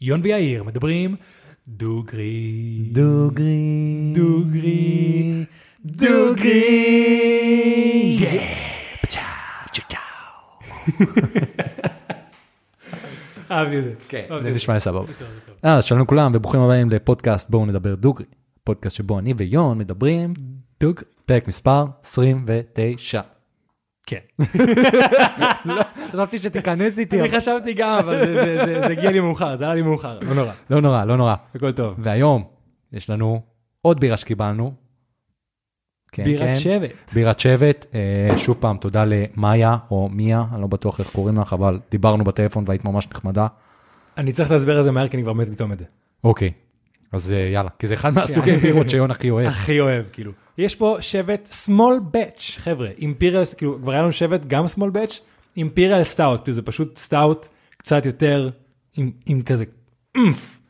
יון ויאיר מדברים דוגרי. דוגרי. דוגרי. דוגרי. אהבתי את זה. כן, אהבתי זה את נשמע לי סבבה. אה, זה אוקיי. טוב, זה טוב. אז שלום לכולם וברוכים הבאים לפודקאסט בואו נדבר דוגרי. פודקאסט שבו אני ויון מדברים דוג. פרק מספר 29. כן. חשבתי שתיכנס איתי. אני אבל- חשבתי גם, אבל זה- זה- זה- זה הגיע לי מאוחר, זה היה לי מאוחר, לא נורא. כן, לא נורא, לא נורא. הכל טוב. והיום יש לנו עוד בירה שקיבלנו. כן, בירת כן. שבט. בירת שבט, אה, שוב פעם, תודה למאיה או מיה, אני לא בטוח איך קוראים לך, אבל דיברנו בטלפון והיית ממש נחמדה. אני צריך להסביר את זה מהר, כי אני כבר מת לטעום את זה. אוקיי, אז אה, יאללה, כי זה אחד מהסוגי בירות שיון הכי אוהב. הכי אוהב, כאילו. יש פה שבט small batch, חבר'ה, אימפיריאל, כאילו, כבר היה לנו שבט גם small batch, אימפיריאל סטאוט, כאילו זה פשוט סטאוט קצת יותר עם, עם כזה אמף.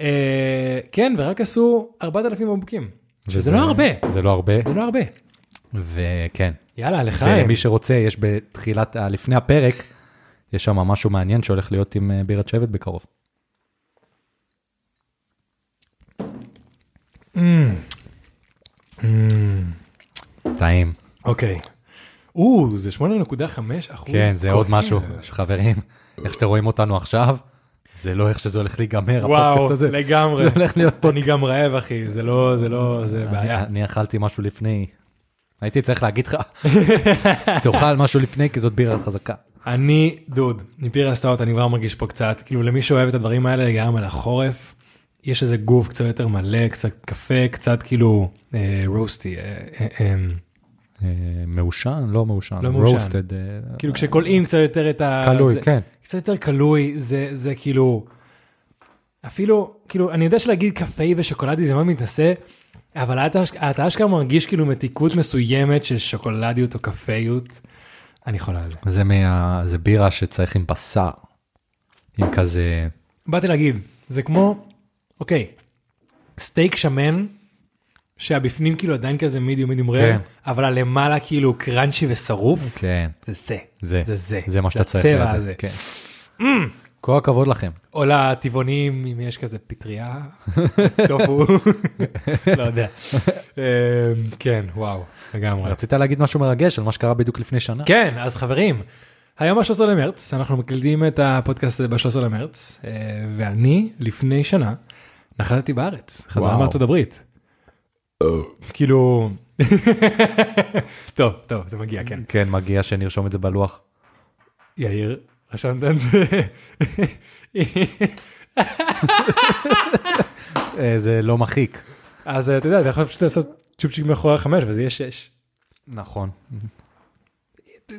אה, כן, ורק עשו 4,000 בקבוקים, שזה וזה- לא הרבה, זה לא הרבה, זה לא הרבה. וכן. יאללה, לחיים. ומי שרוצה, יש בתחילת, ה- לפני הפרק, יש שם משהו מעניין שהולך להיות עם אה, בירת שבט בקרוב. טעים. אוקיי. או, זה 8.5 אחוז. כן, זה עוד קוקאין. משהו. חברים, איך שאתם רואים אותנו עכשיו, זה לא איך שזה הולך להיגמר, הפודקאסט וואו, הזה. לגמרי. זה הולך להיות פה. אני גם רעב, אחי, זה לא, זה לא, זה אני, בעיה. אני אכלתי משהו לפני. הייתי צריך להגיד לך, תאכל משהו לפני כי זאת בירה חזקה. אני דוד, אימפיריה סטאוט, אני כבר מרגיש פה קצת, כאילו למי שאוהב את הדברים האלה, גם על החורף, יש איזה גוף קצת יותר מלא, קצת קפה, קצת כאילו אה, רוסטי, אה, אה, אה, אה, מעושן, לא מעושן, לא מעושן. roasted, אה, כאילו כשקולעים קצת יותר את ה... קלוי, זה- כן. קצת יותר קלוי, זה, זה כאילו, אפילו, כאילו, אני יודע שלהגיד קפאי ושוקולדי זה מאוד מתנשא, אבל אתה אש- אתה אשכרה מרגיש כאילו מתיקות מסוימת של שוקולדיות או קפאיות, אני חולה על זה. זה מה... זה בירה שצריך עם בשר. עם כזה... באתי להגיד, זה כמו, אוקיי, סטייק שמן, שהבפנים כאילו עדיין כזה מידיום מידיום רר, כן. אבל הלמעלה כאילו קראנצ'י ושרוף, כן, זה זה. זה. זה זה. זה מה שאתה זה צריך. הצבע ליד זה, הזה. כן. כל הכבוד לכם. או לטבעונים, אם יש כזה פטריה, טופו, לא יודע. אמ, כן, וואו, לגמרי. רצית להגיד משהו מרגש על מה שקרה בדיוק לפני שנה? כן, אז חברים, היום ה-13 למרץ, אנחנו מקליטים את הפודקאסט ב-13 למרץ, אה, ואני לפני שנה נחתתי בארץ, חזרה וואו. מארצות הברית. כאילו, טוב, טוב, זה מגיע, כן. כן, מגיע שנרשום את זה בלוח. יאיר, רשמת את זה? אה, זה לא מחיק. אז אה, אתה יודע, אתה יכול פשוט לעשות צ'ופצ'יק מאחורי החמש וזה יהיה שש. נכון.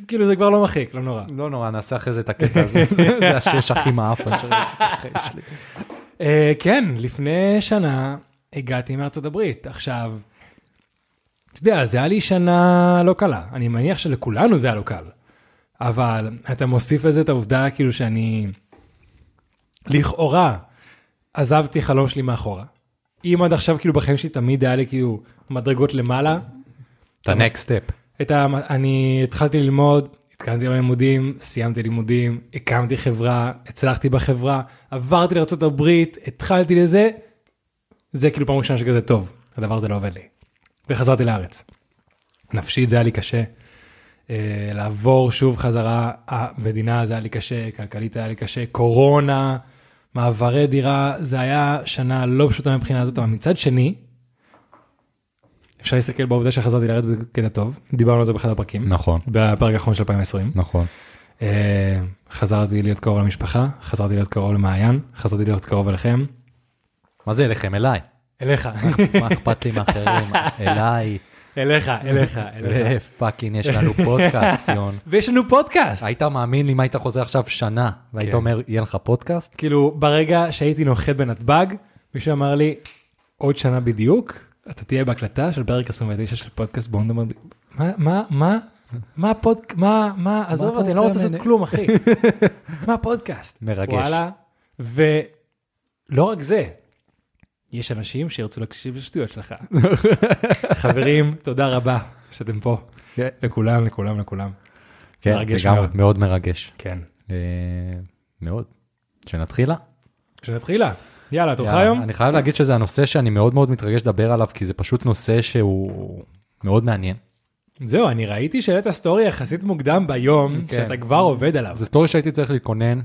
כאילו זה כבר לא מחיק, לא נורא. לא נורא, נעשה אחרי זה את הקטע הזה. זה- זה השש הכי מעפן של החיים שלי. אה, כן, לפני שנה הגעתי מארצות הברית. עכשיו, אתה יודע, זה היה לי שנה לא קלה. אני מניח שלכולנו זה היה לא קל. אבל אתה מוסיף לזה את העובדה כאילו שאני, לכאורה, עזבתי חלום שלי מאחורה. אם עד עכשיו כאילו בחיים שלי תמיד היה לי כאילו מדרגות למעלה, את ה-next step. את ה... אני התחלתי ללמוד, התקדמתי בלימודים, סיימתי לימודים, הקמתי חברה, הצלחתי בחברה, עברתי לארה"ב, התחלתי לזה, זה כאילו פעם ראשונה שכזה טוב, הדבר הזה לא עובד לי. וחזרתי לארץ. נפשית זה היה לי קשה. אה, לעבור שוב חזרה, המדינה זה היה לי קשה, כלכלית היה לי קשה, קורונה, מעברי דירה, זה היה שנה לא פשוטה מבחינה הזאת, אבל מצד שני, אפשר להסתכל בעובדה שחזרתי לארץ בקטע טוב, דיברנו על זה באחד הפרקים, נכון, בפרק האחרון של 2020. נכון. אה, חזרתי להיות קרוב למשפחה, חזרתי להיות קרוב למעיין, חזרתי להיות קרוב אליכם, מה זה אליכם? אליי. אליך, מה אכפת לי מאחרים? אליי. אה, אליך, אליך, אליך. פאקינג, יש לנו פודקאסט, יון. ויש לנו פודקאסט. היית מאמין לי אם היית חוזר עכשיו שנה, והיית כן. אומר, יהיה לך פודקאסט? כאילו, ברגע שהייתי נוחת בנתב"ג, מישהו אמר לי, עוד שנה בדיוק, אתה תהיה בהקלטה של פרק 29 של פודקאסט, בואו נדבר... ב- מה, מה, מה, מה הפודק... מה, מה, עזוב אתה אותי, אני לא רוצה רוצה לעשות ממני? כלום, אחי. מה הפודקאסט? מרגש. וואלה. ולא רק זה, יש אנשים שירצו להקשיב לשטויות שלך. חברים, תודה רבה שאתם פה. כן. לכולם, לכולם, לכולם. כן, מרגש לגמרי, מאוד. מאוד מרגש. כן. אה, מאוד. שנתחילה? שנתחילה. יאללה, תורך יאללה, היום? אני חייב להגיד שזה הנושא שאני מאוד מאוד מתרגש לדבר עליו, כי זה פשוט נושא שהוא מאוד מעניין. זהו, אני ראיתי שהעלית סטורי יחסית מוקדם ביום, כן. שאתה כבר עובד עליו. זה סטורי שהייתי צריך להתכונן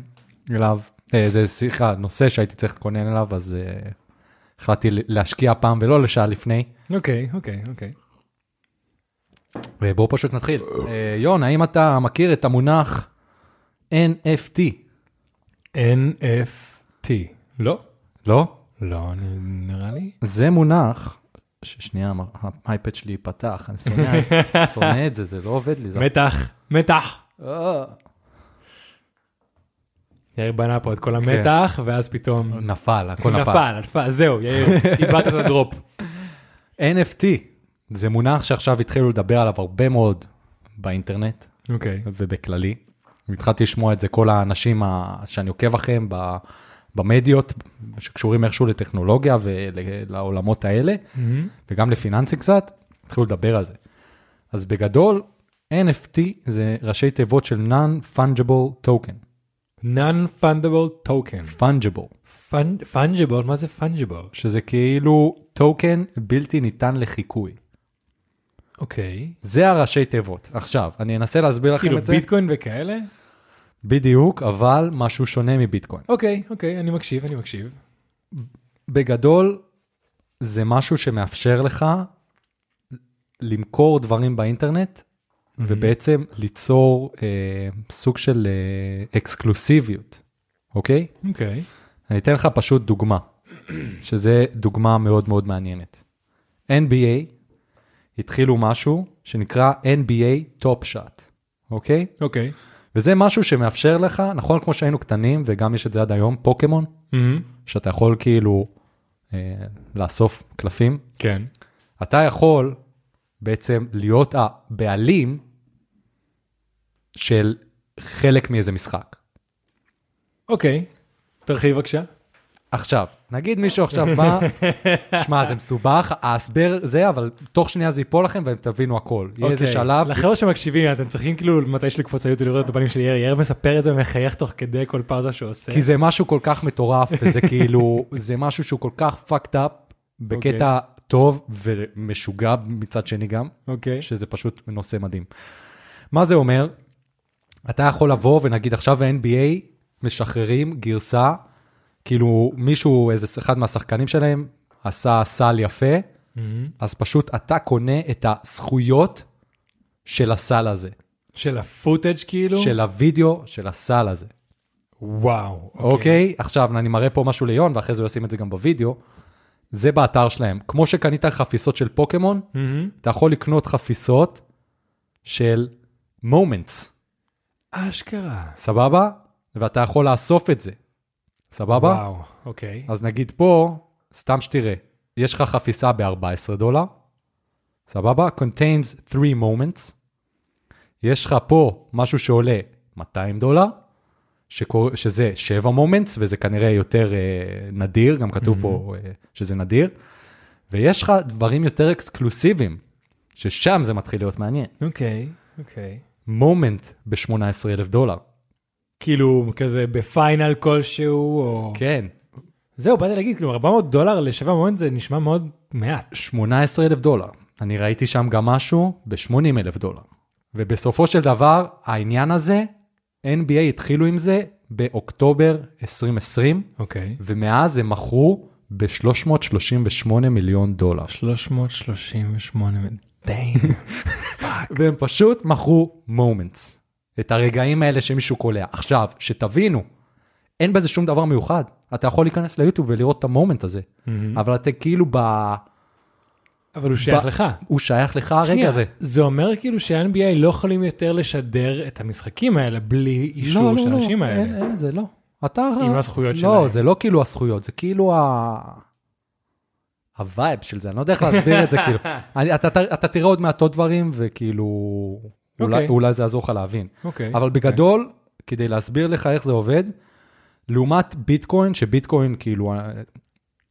אליו, אה, זה סליחה, נושא שהייתי צריך להתכונן אליו, אז אה, החלטתי להשקיע הפעם ולא לשעה לפני. אוקיי, אוקיי, אוקיי. אה, בואו פשוט נתחיל. אה, יון, האם אתה מכיר את המונח NFT? NFT. לא? לא? לא, אני- נראה לי. זה מונח, ש- שנייה, המ- האייפד שלי פתח, אני שונא, שונא את זה, זה לא עובד לי. זה- מתח, מתח. אה, יאיר בנה פה את כל המתח, ואז פתאום... נפל, הכל נפל. נפל, נפל, זהו, יאיר, איבדת את הדרופ. NFT זה מונח שעכשיו התחילו לדבר עליו הרבה מאוד באינטרנט אוקיי. ובכללי. התחלתי לשמוע את זה כל האנשים ה- שאני עוקב אחריהם ב- במדיות שקשורים איכשהו לטכנולוגיה ולעולמות האלה, Mm-hmm. וגם לפיננסי קצת, התחילו לדבר על זה. אז בגדול, NFT זה ראשי תיבות של Non-Fungible Token. Non-Fundable Token. Fungible, פונג'יבול, מה זה פונג'יבול? שזה כאילו טוקן בלתי ניתן לחיקוי. אוקיי. זה הראשי תיבות. עכשיו, אני אנסה להסביר לכם כאילו את זה. ביטקוין וכאלה? בדיוק, אבל משהו שונה מביטקוין. אוקיי, אוקיי, אני מקשיב, אני מקשיב. בגדול, זה משהו שמאפשר לך למכור דברים באינטרנט, ובעצם ליצור אה, סוג של אה, אקסקלוסיביות, אוקיי? אוקיי. אני אתן לך פשוט דוגמה, שזה דוגמה מאוד מאוד מעניינת. NBA התחילו משהו שנקרא NBA Top Shot, אוקיי? אוקיי. וזה משהו שמאפשר לך, נכון כמו שהיינו קטנים, וגם יש את זה עד היום, פוקימון, Mm-hmm. שאתה יכול כאילו אה, לאסוף קלפים, כן. אתה יכול בעצם להיות הבעלים של חלק מאיזה משחק. אוקיי. תרחיב בבקשה. עכשיו, נגיד מישהו עכשיו בא, שמע, זה מסובך, ההסבר זה, אבל תוך שנייה זה ייפול לכם ואתם תבינו הכל. יהיה איזה אוקיי. שלב, לחבר'ה שמקשיבים, אתם צריכים כאילו מתיש לקפוץ היוטיוב לראות את הפנים של יאיר, יאיר מספר את זה ומחייך תוך כדי כל פאוזה שהוא עושה. כי זה משהו כל כך מטורף, וזה כאילו, זה משהו שהוא כל כך fucked up, בקטע טוב ומשוגע מצד שני גם, אוקיי. שזה פשוט נושא מדהים. מה זה אומר? אתה יכול לבוא ונגיד עכשיו ה-NBA משחררים גרסה, כאילו מישהו, איזה אחד מהשחקנים שלהם עשה סל יפה, אז פשוט אתה קונה את הזכויות של הסל הזה, של הפוטאג' כאילו? של הוידאו של הסל הזה. וואו. אוקיי, כן. עכשיו אני מראה פה משהו ליון, ואחרי זה הוא ישים את זה גם בווידאו. זה באתר שלהם. כמו שקנית חפיסות של פוקימון, מהמם. אתה יכול לקנות חפיסות של מומנטס, אשכרה. סבבה? ואתה יכול לאסוף את זה, סבבה? וואו. אוקיי. אז נגיד פה, סתם שתראה, יש לך חפיסה ב-14 דולר, סבבה? contains 3 moments. יש לך פה משהו שעולה 200 דולר, שקור... שזה 7 moments, וזה כנראה יותר אה, נדיר, גם כתוב mm-hmm. פה אה, שזה נדיר. ויש לך דברים יותר אקסקלוסיביים, ששם זה מתחיל להיות מעניין. אוקיי. אוקיי. מומנט ב-18,000 דולר. כאילו כזה בפיינל כלשהו או... כן, זהו, באתי להגיד, כאילו 400 דולר לשבע מועד זה נשמע מאוד מעט. 18,000 דולר. אני ראיתי שם גם משהו ב-80,000 דולר. ובסופו של דבר, העניין הזה, NBA התחילו עם זה באוקטובר 2020, אוקיי. ומאז הם מכרו ב-338 מיליון דולר. 338 דיין. והם פשוט מכרו moments, את הרגעים האלה שמישהו קולע. עכשיו, שתבינו, אין בזה שום דבר מיוחד. אתה יכול להיכנס ליוטיוב ולראות את המומנט הזה, אבל אתה כאילו ב... אבל הוא שייך ב- לך. הוא שייך לך הרגע שנייה, הזה. זה אומר כאילו שה-NBA לא יכולים יותר לשדר את המשחקים האלה בלי אישור של האנשים לא, אין, האלה. אין את זה, לא. אתה... עם הזכויות לא, שלהם. לא, זה לא כאילו הזכויות, זה כאילו ה... הווייב של זה, אני לא יודע איך להסביר את זה, כאילו. אני, אתה, אתה, אתה תראה עוד מעט עוד דברים, וכאילו... אולי, אוקיי. אולי זה יעזור לך להבין. אוקיי. אבל בגדול, כדי להסביר לך איך זה עובד, לעומת ביטקוין, שביטקוין כאילו, אה,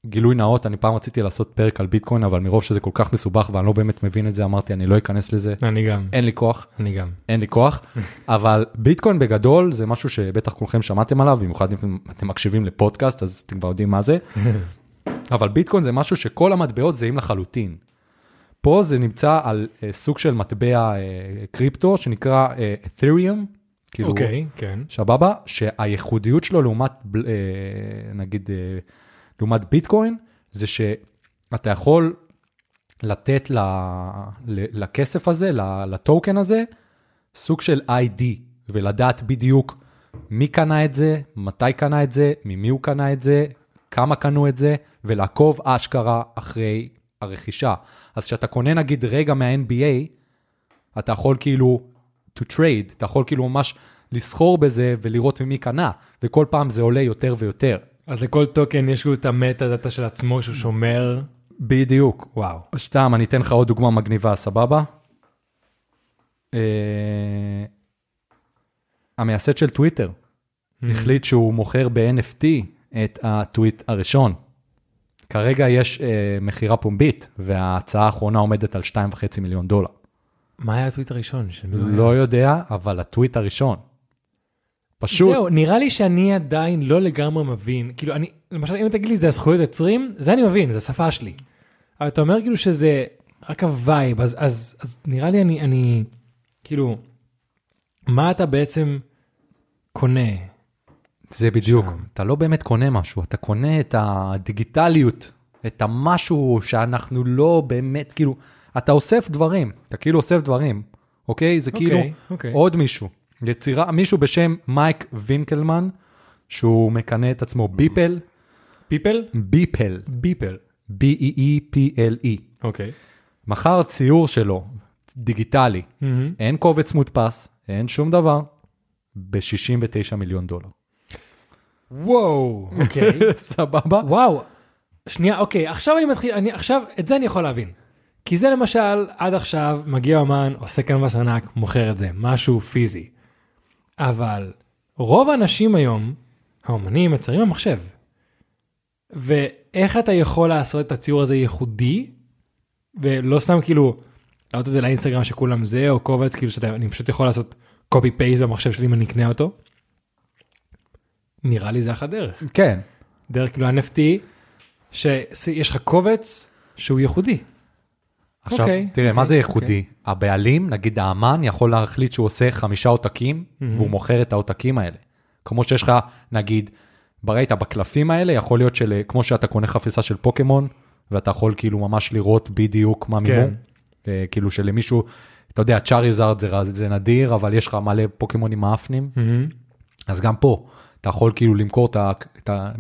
גילוי נאות, אני פעם רציתי לעשות פרק על ביטקוין, אבל מרוב שזה כל כך מסובך ואני לא באמת מבין את זה, אמרתי, אני לא אכנס לזה, אני גם, אין לי כוח. אני גם. אין לי כוח, אבל ביטקוין בגדול זה משהו שבטח כולכם שמעתם עליו, במיוחד אם אתם מקשיבים לפודקאסט אז אתם כבר יודעים מה זה, אבל ביטקוין זה משהו שכל המטבעות זהים לחלוטין. פה זה נמצא על אה, סוג של מטבע אה, קריפטו שנקרא אה, Ethereum, כאילו, אוקיי, כן. שבבה, שהייחודיות שלו לעומת, בל- אה, נגיד, אה, לעומת ביטקוין, זה שאתה יכול לתת ל, ל, לכסף הזה, ל- לטוקן הזה, סוג של ID, ולדעת בדיוק מי קנה את זה, מתי קנה את זה, ממי הוא קנה את זה, כמה קנו את זה, ולעקוב אשכרה אחרי הרכישה. אז כשאתה קונה נגיד רגע מה-NBA, אתה יכול כאילו to trade, אתה יכול כאילו ממש לסחור בזה ולראות ממי קנה, וכל פעם זה עולה יותר ויותר. אז לכל טוקן יש לו את המטה דאטה של עצמו שהוא שומר. בדיוק. וואו. סתם, אני אתן לך עוד דוגמה מגניבה, סבבה? אה, המייסד של טוויטר החליט שהוא מוכר ב-NFT את הטוויט הראשון. כרגע יש אה, מכירה פומבית, וההצעה האחרונה עומדת על 2.5 מיליון דולר. מה היה הטוויט הראשון? שאני לא יודע? לא יודע, אבל הטוויט הראשון. פשוט, זהו, נראה לי שאני עדיין לא לגמרי מבין. כאילו, אני, למשל, אם תגיד לי זה הזכויות יוצרים, זה אני מבין, זה השפה שלי. אבל אתה אומר כאילו שזה רק הווייב, אז, אז, אז נראה לי אני, אני, כאילו, מה אתה בעצם קונה? זה בדיוק, שם. אתה לא באמת קונה משהו, אתה קונה את הדיגיטליות, את המשהו שאנחנו לא באמת, כאילו, אתה אוסף דברים, אתה כאילו אוסף דברים, אוקיי? זה כאילו אוקיי, אוקיי. עוד מישהו, יצירה, מישהו בשם מייק וינקלמן, שהוא מכנה את עצמו ביפל, פיפל? ביפל, ביפל. B-E-E-P-L-E, אוקיי. מכר ציור שלו, דיגיטלי, מהמם. אין קובץ מודפס, אין שום דבר, ב-69 מיליון דולר. וואו, אוקיי. סבבה? וואו, שנייה, אוקיי, עכשיו אני מתחיל, אני עכשיו, את זה אני יכול להבין. כי זה למשל, עד עכשיו מגיע אומן, עושה קנבס ענק, מוכר את זה, משהו פיזי. אבל רוב האנשים היום, האומנים, מציירים במחשב. ואיך אתה יכול לעשות את הציור הזה ייחודי, ולא סתם כאילו, להעלות את זה לאינסטגרם שכולם זה, או קובץ, כאילו שאתה, אני פשוט יכול לעשות קופי פייס במחשב שלי אם אני אקנה אותו. נראה לי זה אחלה דרך. כן. דרך כאילו NFT, שיש לך קובץ שהוא ייחודי. עכשיו, אוקיי, okay, תראה, okay, מה אוקיי, זה ייחודי? Okay. הבעלים, נגיד האמן, יכול להחליט שהוא עושה חמישה עותקים, mm-hmm. והוא מוכר את העותקים האלה. כמו שיש לך, נגיד, ראית, בקלפים האלה, יכול להיות של, כמו שאתה קונה חפיסה של פוקימון, ואתה יכול כאילו ממש לראות בדיוק כן. מה מימון. אה, כאילו שלמישהו, אתה יודע, צ'אריזארד זה, ר- זה נדיר, אבל יש לך מלא פוקימונים מאפנים. אז גם פה, אתה יכול כאילו למכור את ה- את ה-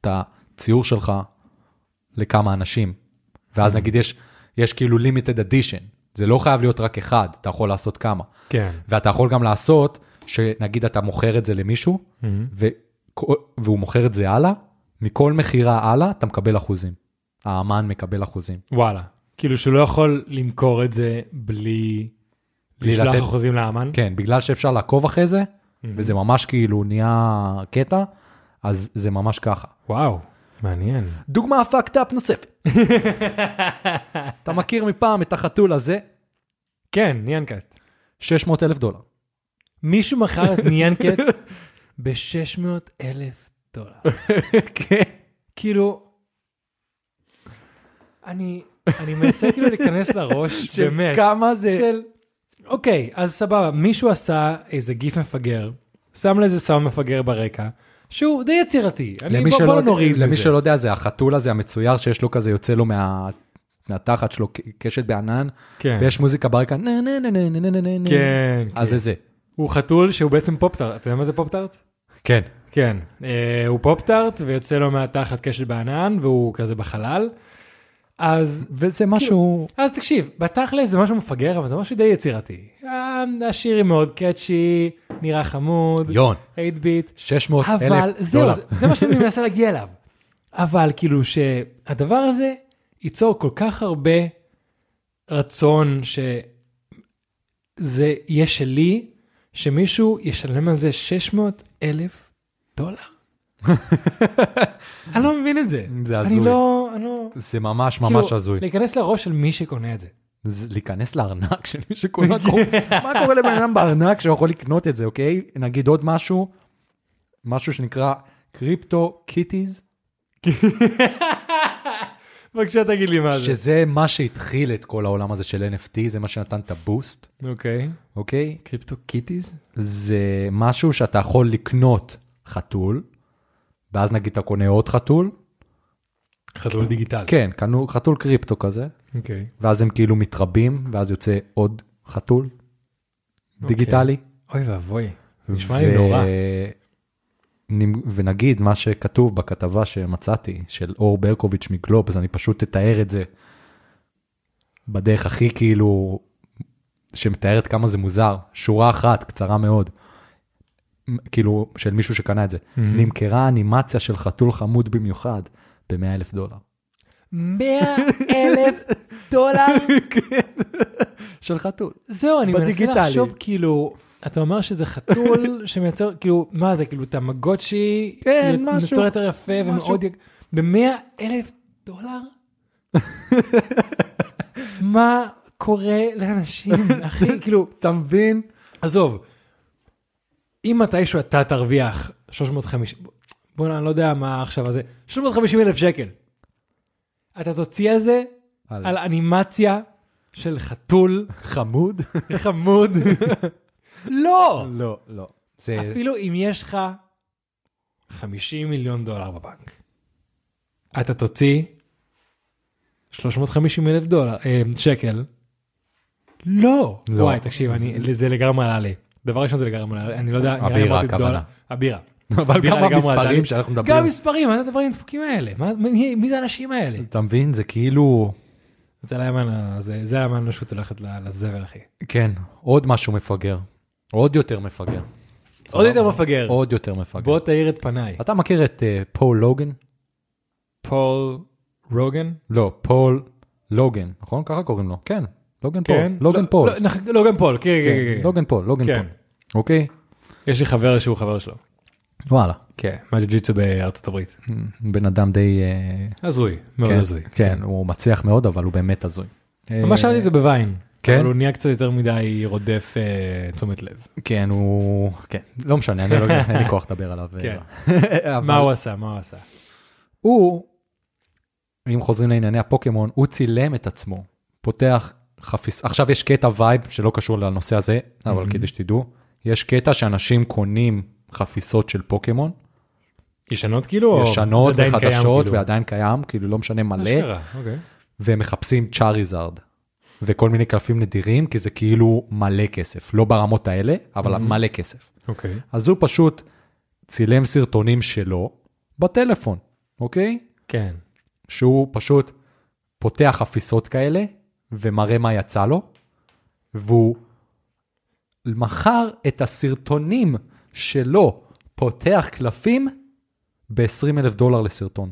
את הציור שלך לכמה אנשים. ואז נגיד יש, יש כאילו limited edition, זה לא חייב להיות רק אחד, אתה יכול לעשות כמה. כן. ואתה יכול גם לעשות, שנגיד אתה מוכר את זה למישהו, Mm. ו... והוא מוכר את זה הלאה, מכל מכירה הלאה אתה מקבל אחוזים. האמן מקבל אחוזים. וואלה. כאילו שהוא לא יכול למכור את זה בלי... בלי לשלוח לתת- אחוזים לאמן. כן, בגלל שאפשר לעקוב אחרי זה, וזה ממש כאילו נהיה קטע, אז זה ממש ככה. וואו. מעניין. דוגמה fucked up נוספת. אתה מכיר מפעם את החתול הזה? כן, ניאנקט. 600 אלף דולר. מישהו מכר את ניאנקט ב-600 אלף דולר. כן. כאילו, אני, אני מנסה כאילו להיכנס לראש, באמת. כמה זה... של, אוקיי, אז סבבה, מישהו עשה איזה גיף מפגר, שם לזה סאונד מפגר ברקע, שהוא די יצירתי. אני, למי בוא, שלא, בוא לא נוריד למי מזה. שלא יודע, זה החתול הזה המצויר שיש לו כזה, יוצא לו מה... מהתחת שלו ק- קשת בענן, כן. ויש מוזיקה ברקע, נה נה נה נה נה נה נה נה נה. כן, כן. אז זה זה. הוא חתול שהוא בעצם פופטארט, אתה יודע מה זה פופטארט? כן. כן, אה, הוא פופטארט ויוצא לו מהתחת קשת בענן והוא כזה בחלל. אז כן. וזה משהו... אז תקשיב, בתכל'ס זה משהו מפגר, אבל זה משהו די יצירתי. אה, השירים מאוד קאצ'י, נראה חמוד, יון, 8 ביט. 600 אבל אלף זהו, דולר. זה, זה מה שאני מנסה להגיע אליו. אבל כאילו שהדבר הזה ייצור כל כך הרבה רצון שזה יהיה שלי, שמישהו ישלם על זה 600 אלף דולר. אני לא מבין את זה. זה אני הזוי. לא, אני לא... זה ממש ממש כאילו, הזוי. להיכנס לראש של מי שקונה את זה. זה להיכנס לארנק של מי שקונה, קורה- מה קורה לבן אדם בארנק שהוא יכול לקנות את זה, אוקיי? נגיד עוד משהו, משהו שנקרא קריפטו קיטיז, בבקשה תגיד לי מה זה. שזה מה שהתחיל את כל העולם הזה של NFT, זה מה שנתן את הבוסט, אוקיי. אוקיי? קריפטו קיטיז? זה משהו שאתה יכול לקנות חתול, ואז נגיד אתה קונה עוד חתול, חתול דיגיטל. כן, קנו חתול קריפטו כזה, אוקיי. ואז הם כאילו מתרבים, ואז יוצא עוד חתול אוקיי. דיגיטלי. אוי ואבוי. נשמע לי נורא. נמ- ונגיד מה שכתוב בכתבה שמצאתי של אור ברקוביץ' מגלוב, אז אני פשוט אתאר את זה בדרך הכי כאילו, שמתארת כמה זה מוזר, שורה אחת קצרה מאוד, מ- כאילו של מישהו שקנה את זה, נמכרה אנימציה של חתול חמוד במיוחד ב-100 אלף דולר. 100 אלף דולר? כן. של חתול. זהו, אני מנסה בדיגיטלי. לחשוב כאילו, אתה אומר שזה חתול שמייצר, כאילו, מה זה, כאילו תמגוצ'י, כן, כאילו, משהו. יוצר יותר יפה משהו. ומאוד... ב-100 אלף דולר? מה קורה לאנשים, אחי? כאילו, אתה מבין? עזוב, אם מתישהו אתה תרוויח 350, בוא'נה, אני לא יודע מה עכשיו הזה, 350 אלף שקל, אתה תוציא על זה על- על אנימציה של חתול חמוד? חמוד. לא! לא, לא. זה... אפילו אם יש לך 50 מיליון דולר בבנק, אתה תוציא 350 אלף דולר, אה, שקל. לא. לא. וואי, תקשיב, אני, זה לגמרי עלה לי. דבר ראשון זה לגמרי עלה לי, אני לא יודע, נראה לי הבירה, אמרתי הכוונה. דולר. הבירה. אבל הבירה גם לגמרי עלתה המספרים לי. שאנחנו מדברים, גם מספרים, מה זה הדברים הדפוקים האלה? מה- מי מי זה האנשים האלה? אתה מבין? זה כאילו... זה למה ה- זה- זה למה האנושות הולכת ל- לזבל, אחי. כן, עוד משהו מפגר. עוד יותר מפגר. עוד יותר מפגר. עוד יותר מפגר. בוא תאיר את פניי. אתה מכיר את אה, פול לוגן? פול רוגן? לא, פול לוגן, נכון? ככה קוראים לו. כן, לוגן פול. לוגן לא- פול. לא, נח- לוגן פול, כן, כן, כן, כן, כן. לוגן פול, לוגן כן. פול. אוקיי? יש לי חבר שהוא חבר שלו. וואלה. כן. מהג'ו-ג'יצו בארצות הברית. Mm, בן אדם די... אה, הזוי, מאוד כן, הזוי. כן, הוא מצליח מאוד, אבל הוא באמת הזוי. ממש אה, שאלתי את זה בוויין. כן? אבל הוא נהיה קצת יותר מדי רודף אה, תשומת לב. כן, הוא... כן, לא משנה, אני לא יודע, אין לי כוח לדבר עליו. כן. אה, אבל- מה הוא עשה? מה הוא עשה? הוא, אם חוזרים לענייני הפוקימון, הוא צילם את עצמו, פותח חפיס... עכשיו יש קטע וייב שלא קשור לנושא הזה, אבל Mhm. כדי שתדעו, יש קטע שאנשים קונים חפיסות של פוקימון, ישנות כאילו? או ישנות זה עדיין קיים, וחדשות כאילו? ועדיין קיים, כאילו לא משנה מלא, אשכרה, אוקיי. והם מחפשים צ'אריזארד. וכל מיני קלפים נדירים, כי זה כאילו מלא כסף, לא ברמות האלה, אבל מלא כסף. אוקיי. אז הוא פשוט צילם סרטונים שלו בטלפון, אוקיי? כן. שהוא פשוט פותח חפיסות כאלה ומראה מה יצא לו, והוא מכר את הסרטונים שלו פותח קלפים ב-20 אלף דולר לסרטון.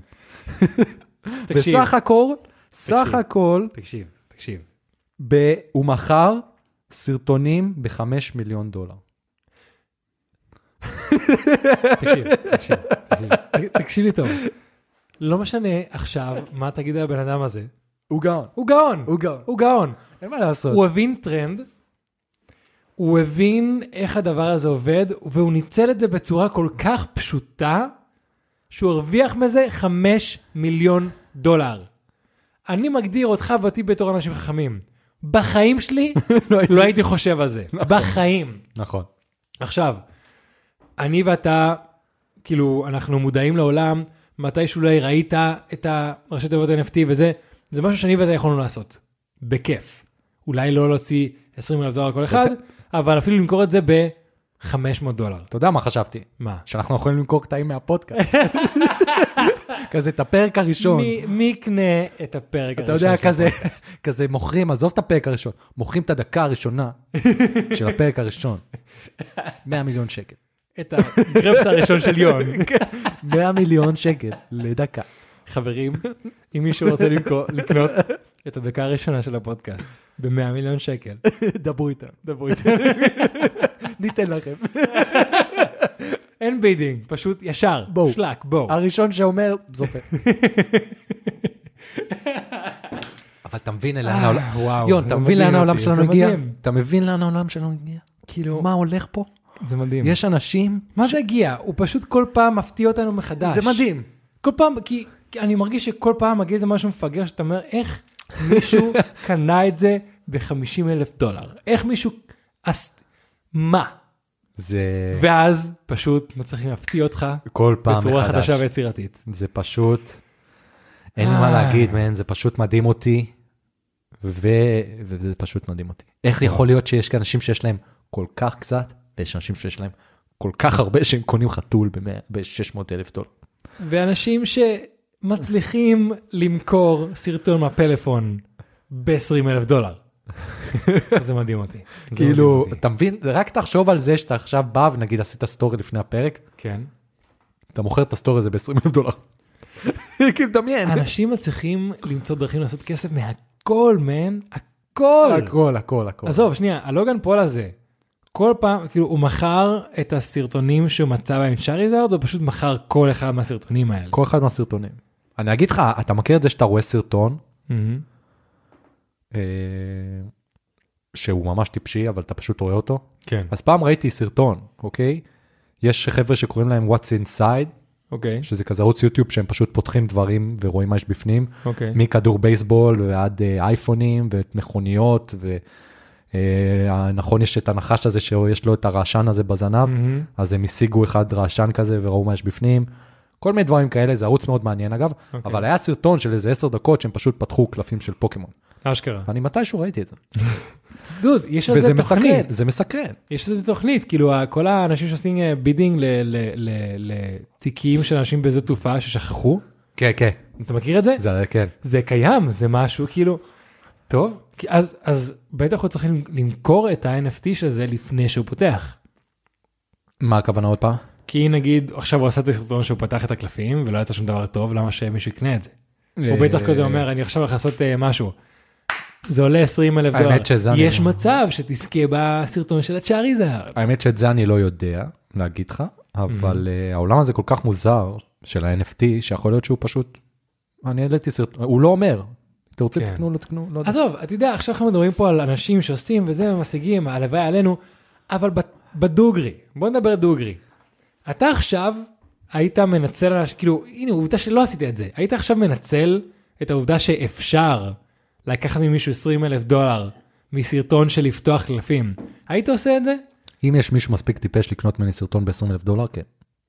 תקשיב, בסך הכל, סך תקשיב. הכל, תקשיב, תקשיב. ב- הוא מכר סרטונים ב-5 מיליון דולר. תקשיב, תקשיב, תקשיב. ת- תקשיב לי טוב. לא משנה עכשיו מה תגיד על הבן אדם הזה. הוא גאון. הוא גאון, הוא גאון. הוא גאון. אין מה לעשות. הוא הבין טרנד, הוא הבין איך הדבר הזה עובד, והוא ניצל את זה בצורה כל כך פשוטה, שהוא הרוויח מזה 5 מיליון דולר. אני מגדיר אותך ואותי בתור אנשים חכמים. בחיים שלי לא הייתי- לא הייתי חושב על זה. בחיים. נכון. עכשיו, אני ואתה, כאילו, אנחנו מודעים לעולם, מתישהו אולי ראית את הרשת תיבות NFT וזה, זה משהו שאני ואתה יכולנו לעשות, בכיף. אולי לא להוציא 20 אלף דולר כל אחד, אבל אפילו למכור את זה ב-500 דולר. אתה יודע מה חשבתי? מה? שאנחנו יכולים למכור קטעים מהפודקאסט. כזה את הפרק הראשון. מי- מי יקנה את הפרק אתה הראשון? יודע, של כזה, הפודקאסט? כזה מוכרים, עזוב את הפרק הראשון, מוכרים את הדקה הראשונה של הפרק הראשון. 100 מיליון שקל. את הגרפס הראשון של יון. 100 מיליון שקל לדקה. חברים, אם מישהו רוצה למכור- לקנות את הדקה הראשונה של הפודקאסט ב-100 מיליון שקל, דברו איתם, דברו איתנו. ניתן לכם. אין בידינג, פשוט ישר, בואו. אה, שלק, בואו. הראשון שאומר, זוכה. אבל אתה מבין לאן העולם... אה, וואו, יון, זה אתה מבין לאן מדהים העולם אותי, שלנו זה הגיע? מדהים. אתה מבין לאן העולם שלנו הגיע? כאילו, מה הולך פה? זה מדהים. יש אנשים... מה זה הגיע? הוא פשוט כל פעם מפתיע אותנו מחדש. זה מדהים. כל פעם, כי, כי אני מרגיש שכל פעם מגיע איזה משהו מפגר, שאתה אומר, איך מישהו קנה את זה ב-50 אלף דולר? איך מישהו... אז מה? זה ואז פשוט מצליחים להפתיע אותך כל פעם מחדש. בצורה חדשה ויצירתית. זה פשוט, אין אה. מה להגיד, מן, זה פשוט מדהים אותי, ו... וזה פשוט מדהים אותי. איך יכול להיות שיש כאן אנשים שיש להם כל כך קצת, ויש אנשים שיש להם כל כך הרבה שהם קונים חתול ב-600 אלף דולר. ואנשים שמצליחים למכור סרטון מהפלאפון ב-20 אלף דולר. זה מדהים אותי. זה לא כאילו, מדהים אותי. אתה מבין? רק תחשוב על זה שאתה עכשיו בא ונגיד עשית סטורי לפני הפרק, כן. אתה מוכר את הסטורי הזה ב-20 אלף דולר. כאילו, דמיין. אנשים מצליחים למצוא דרכים לעשות כסף מהכל, מן, הכל. הכל, הכל, הכל. לא- עזוב, שנייה, הלוגן פול הזה, כל פעם, כאילו, הוא מכר את הסרטונים שהוא מצא בהם את שריזרד, או פשוט מכר כל אחד מהסרטונים האלה? כל אחד מהסרטונים. אני אגיד לך, אתה מכיר את זה שאתה רואה סרטון, מהמם. אה, שהוא ממש טיפשי, אבל אתה פשוט רואה אותו. כן. אז פעם ראיתי סרטון, אוקיי? יש חבר'ה שקוראים להם What's Inside, אוקיי, שזה כזה ערוץ יוטיוב שהם פשוט פותחים דברים ורואים מה יש בפנים, אוקיי. מכדור בייסבול ועד אה, אייפונים ומכוניות, ונכון אה, נכון, יש את הנחש הזה שיש לו את הרעשן הזה בזנב, מהמם. אז הם השיגו אחד רעשן כזה וראו מה יש בפנים. כל מיני דברים כאלה, זה ערוץ מאוד מעניין אגב, okay. אוקיי. אבל היה סרטון של איזה 10 דקות שהם פשוט פתחו קלפים של פוקימון. אשכרה. ואני מתישהו ראיתי את זה. דוד, יש על זה וזה תוכנית. מסקרן, זה מסקרן. יש איזה תוכנית, כאילו ה- כל האנשים שעושים אה, בידינג ל- ל- ל- לתיקים של אנשים באיזו תופעה ששכחו, כן, כן. אתה מכיר את זה? זה, כן. זה קיים, זה משהו כאילו, טוב, כי אז, אז בטח הוא צריך למ- למכור את ה-NFT של זה לפני שהוא פותח. מה הכוונה עוד פעם? כי נגיד עכשיו הוא עשה את הסרטון שהוא פתח את הקלפים ולא יצא שום דבר טוב, למה שמישהו יקנה את זה? אה, הוא בטח כזה אומר, אני עכשיו הולך לעשות אה, משהו. זה עולה 20 אלף האמת דולר. שזה אני- יש מצב שתזכה בסרטון של הצ'אריזר. האמת שאת זה אני לא יודע להגיד לך, אבל אה, העולם הזה כל כך מוזר של ה-NFT, שיכול להיות שהוא פשוט... אני העליתי סרטון, הוא לא אומר. אתה רוצה כן. תקנו, לא תקנו, לא יודע. עזוב, אתה יודע, עכשיו אנחנו מדברים פה על אנשים שעושים וזה ומשיגים, הלוואי עלינו, אבל ב- בדוגרי, בוא נדבר דוגרי. אתה עכשיו היית מנצל, על הש- כאילו, הנה, עובדה שלא עשית את זה. היית עכשיו מנצל את העובדה שאפשר לקחת ממישהו 20 אלף דולר מסרטון של לפתוח קלפים. היית עושה את זה? אם יש מישהו מספיק טיפש לקנות ממני סרטון ב-20 אלף דולר, כן.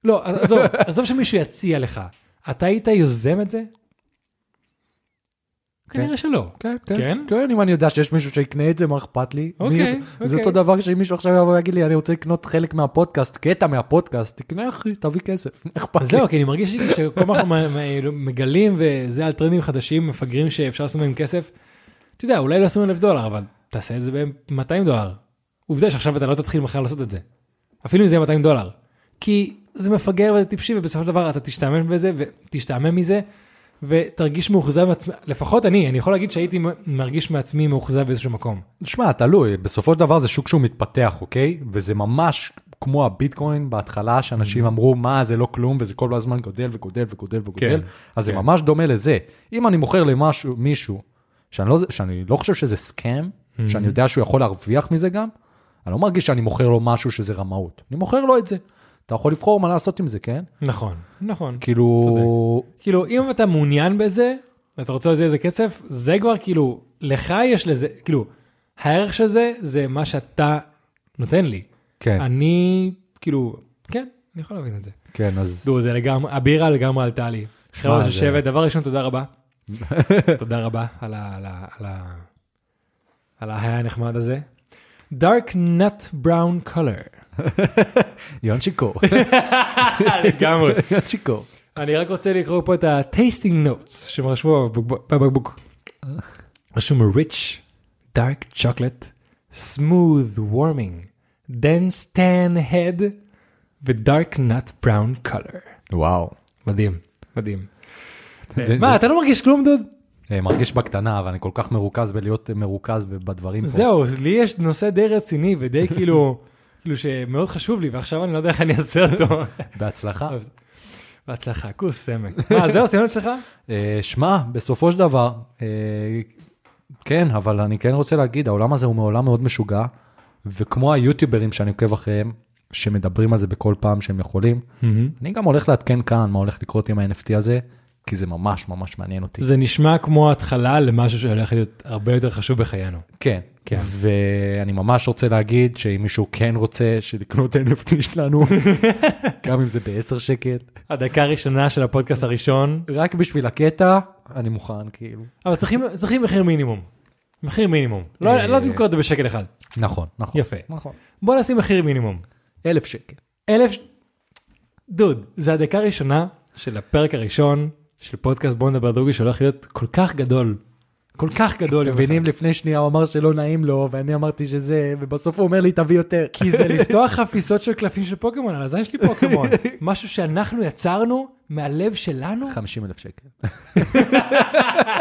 לא, אז- עזוב, עזוב שמישהו יציע לך. אתה היית יוזם את זה? כנראה שלא. כן, כן? כן, אם אני יודע שיש מישהו שיקנה את זה, מה אכפת לי? אוקיי, מי- זה אוקיי. אותו דבר שאם מישהו עכשיו יבוא ויגיד לי, אני רוצה לקנות חלק מהפודקאסט, קטע מהפודקאסט, תקנה אחי, תביא כסף, אכפת לי. אז זהו, כי אני מרגיש שכל פעם אנחנו מ- מ- מגלים וזה על טרנדים חדשים, מפגרים שאפשר לעשות מהם כסף. אתה יודע, אולי לא 20 אלף דולר, אבל תעשה את זה ב-200 דולר. עובדה שעכשיו אתה לא תתחיל מחר לעשות את זה. אפילו אם זה יהיה 200 דולר. כי זה מפגר וזה טיפשי, ובסופו של דבר אתה תשתעמם בזה ותשתעמם מזה, ותרגיש מאוכזב מעצמך, לפחות אני, אני יכול להגיד שהייתי מ- מרגיש מעצמי מאוכזב באיזשהו מקום. שמע, תלוי, בסופו של דבר זה שוק שהוא מתפתח, אוקיי? וזה ממש כמו הביטקוין בהתחלה, שאנשים Mm-hmm. אמרו, מה, זה לא כלום, וזה כל הזמן גודל וגודל וגודל וגודל, כן, אז זה כן. ממש דומה לזה. אם אני מוכר למשהו, מישהו, שאני לא, שאני לא חושב שזה סכם, Mm-hmm. שאני יודע שהוא יכול להרוויח מזה גם, אני לא מרגיש שאני מוכר לו משהו שזה רמאות. אני מוכר לו את זה. אתה יכול לבחור מה לעשות עם זה, כן? נכון, נכון. כאילו, כאילו, אם אתה מעוניין בזה, ואתה רוצה לזה איזה כסף, זה כבר כאילו, לך יש לזה, כאילו, הערך של זה, זה מה שאתה נותן לי. כן, אני, כאילו, כן, אני יכול להבין את זה. כן, אז... דו, זה לגמרי, הבירה לגמרי עלתה לי. חבר'ה של זה- שבט, דבר ראשון, תודה רבה. תודה רבה על ה... על ה... על ה... על ההיי הנחמד הזה. Dark nut brown color. יון שיכור, לגמרי. יון שיכור. אני רק רוצה לקרוא פה את ה-tasting notes שהם רשמו בבקבוק- בבקבוק. רשום rich, dark chocolate, smooth warming, dense tan head ו-dark nut brown color. וואו. מדהים, מדהים. זה- מה, אתה לא מרגיש כלום דוד? אה, מרגיש בקטנה, אבל אני כל כך מרוכז בלהיות מרוכז בדברים פה. זהו, לי יש נושא די רציני ודי כאילו כאילו שמאוד חשוב לי, ועכשיו אני לא יודע איך אני אעשה אותו. בהצלחה. טוב, בהצלחה, כוס סמק. מה, זהו, סיימנו את שלך? אה, שמע, בסופו של דבר, אה, כן, אבל אני כן רוצה להגיד, העולם הזה הוא מעולם מאוד משוגע, וכמו היוטיוברים שאני עוקב אחריהם, שמדברים על זה בכל פעם שהם יכולים, אני גם הולך לעדכן כאן מה הולך לקרות עם ה-NFT הזה, כי זה ממש ממש מעניין אותי. זה נשמע כמו התחלה למשהו שהולך להיות הרבה יותר חשוב בחיינו. כן, כן. כן. ואני ממש רוצה להגיד שאם מישהו כן רוצה שלקנות NFT שלנו, גם אם זה ב-10 שקל, הדקה הראשונה של הפודקאסט הראשון, רק בשביל הקטע, אני מוכן כאילו. אבל צריכים צריכים מחיר מינימום. מחיר מינימום. לא אה, לא תמכור את זה בשקל אחד. נכון, נכון. יפה. נכון. בוא נשים מחיר מינימום. אלף שקל. אלף... ש- דוד, זה הדקה הראשונה של הפרק הראשון של פודקאסט בוא נדבר דוגי שהולך להיות כל כך גדול. כל כך גדול. אתם יום מבינים, לפני שנייה הוא אמר שלא נעים לו, ואני אמרתי שזה, ובסוף הוא אומר לי, תביא יותר. אחד. כי זה לפתוח חפיסות של קלפים של פוקימון, על הזין שלי פוקימון. משהו שאנחנו יצרנו מהלב שלנו. 50 אלף שקל.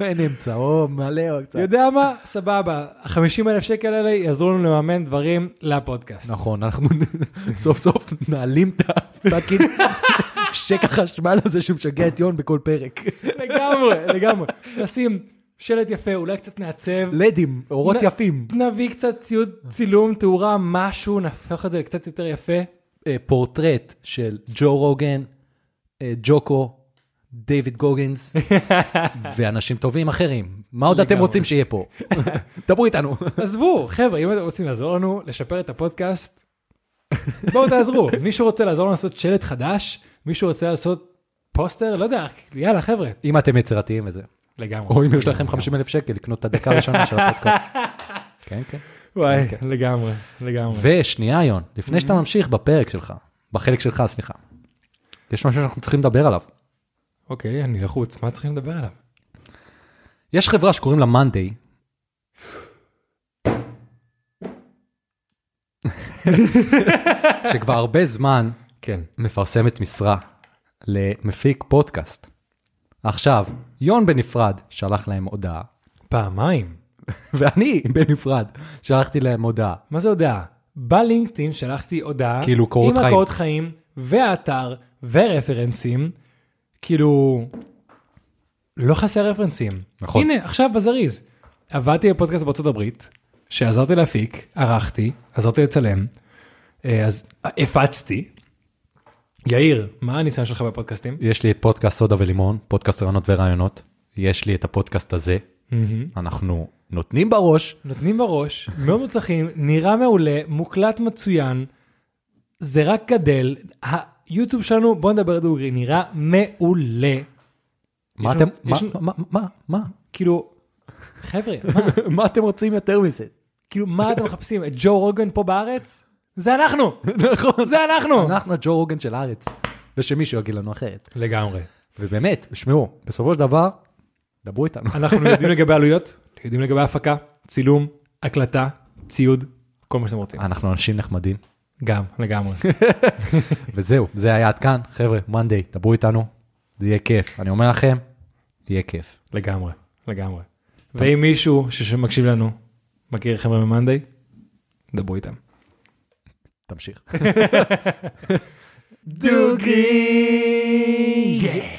אין אמצעו, מלא או קצת. אתה יודע מה? סבבה. ה-50 אלף שקל האלה יעזרו לנו לממן דברים לפודקאסט. נכון, אנחנו סוף סוף נעלים את הפאקינג שקע חשמל הזה שמשגע את יון בכל פרק. לגמרי, לגמרי. נשים שלט יפה, אולי קצת נעצב. לדים, אורות נ- יפים. נביא קצת ציוד צילום, תאורה, משהו, נהפוך את זה לקצת יותר יפה. אה, פורטרט של ג'ו רוגן, אה, ג'וקו, דיוויד גוגינס, ואנשים טובים אחרים. מה עוד אתם לגמרי. רוצים שיהיה פה? דברו איתנו. עזבו, חבר'ה, אם אתם רוצים לעזור לנו לשפר את הפודקאסט, בואו תעזרו. מישהו רוצה לעזור לנו לעשות שלט חדש? מישהו רוצה לעשות פוסטר? לא יודע, יאללה, חבר'ה. אם אתם יצירתיים וזה. לגמרי. או אם יש לכם 50 אלף שקל לקנות את הדקה הראשונה של הפודקאסט. כן, כן. וואי, לגמרי, לגמרי. ושנייה, יון, לפני שאתה ממשיך בפרק שלך, בחלק שלך, סליחה, יש משהו שאנחנו צריכים לדבר עליו. אוקיי, אני לחוץ, מה צריכים לדבר עליו? יש חברה שקוראים לה מאנדיי. שכבר הרבה זמן כן. מפרסמת משרה למפיק פודקאסט. עכשיו, יון בנפרד שלח להם הודעה, פעמיים. ואני בנפרד שלחתי להם הודעה. מה זה הודעה? בלינקדאין שלחתי הודעה, כאילו, קורות עם חיים. הקורות חיים, והאתר, ורפרנסים, כאילו, לא חסר רפרנסים. נכון. הנה, עכשיו בזריז. עבדתי בפודקאסט בארצות הברית, שעזרתי להפיק, ערכתי, עזרתי לצלם, אה, אז הפצתי. יאיר, מה הניסיון שלך בפודקאסטים? יש לי את פודקאסט סודה ולימון, פודקאסט רעיונות ורעיונות, יש לי את הפודקאסט הזה, אנחנו נותנים בראש, נותנים בראש, מאוד מוצלחים, נראה מעולה, מוקלט מצוין, זה רק גדל. היוטיוב שלנו, בוא נדבר דוגרי, נראה מעולה. מה לנו- אתם, מה, יש לנו- מה, מה, מה, כאילו, חבר'ה, מה, מה אתם רוצים יותר מזה? כאילו, מה אתם מחפשים? את ג'ו רוגן פה בארץ? זה אנחנו! נכון. זה אנחנו! אנחנו הג'ו רוגן של הארץ, ושמישהו יגיד לנו אחרת. לגמרי. ובאמת, שמעו, בסופו של דבר, דברו איתנו. אנחנו יודעים לגבי עלויות, יודעים לגבי הפקה, צילום, הקלטה, ציוד, כל מה שאתם רוצים. אנחנו אנשים נחמדים, גם, לגמרי. וזהו, זה היה עד כאן, חבר'ה, מאנדיי, דברו איתנו, זה יהיה כיף, אני אומר לכם, יהיה כיף. לגמרי, לגמרי. ואם מישהו ש- שמקשיב לנו, מכיר חבר'ה ממאנדיי, דברו איתם. תמשיך. דוגרי!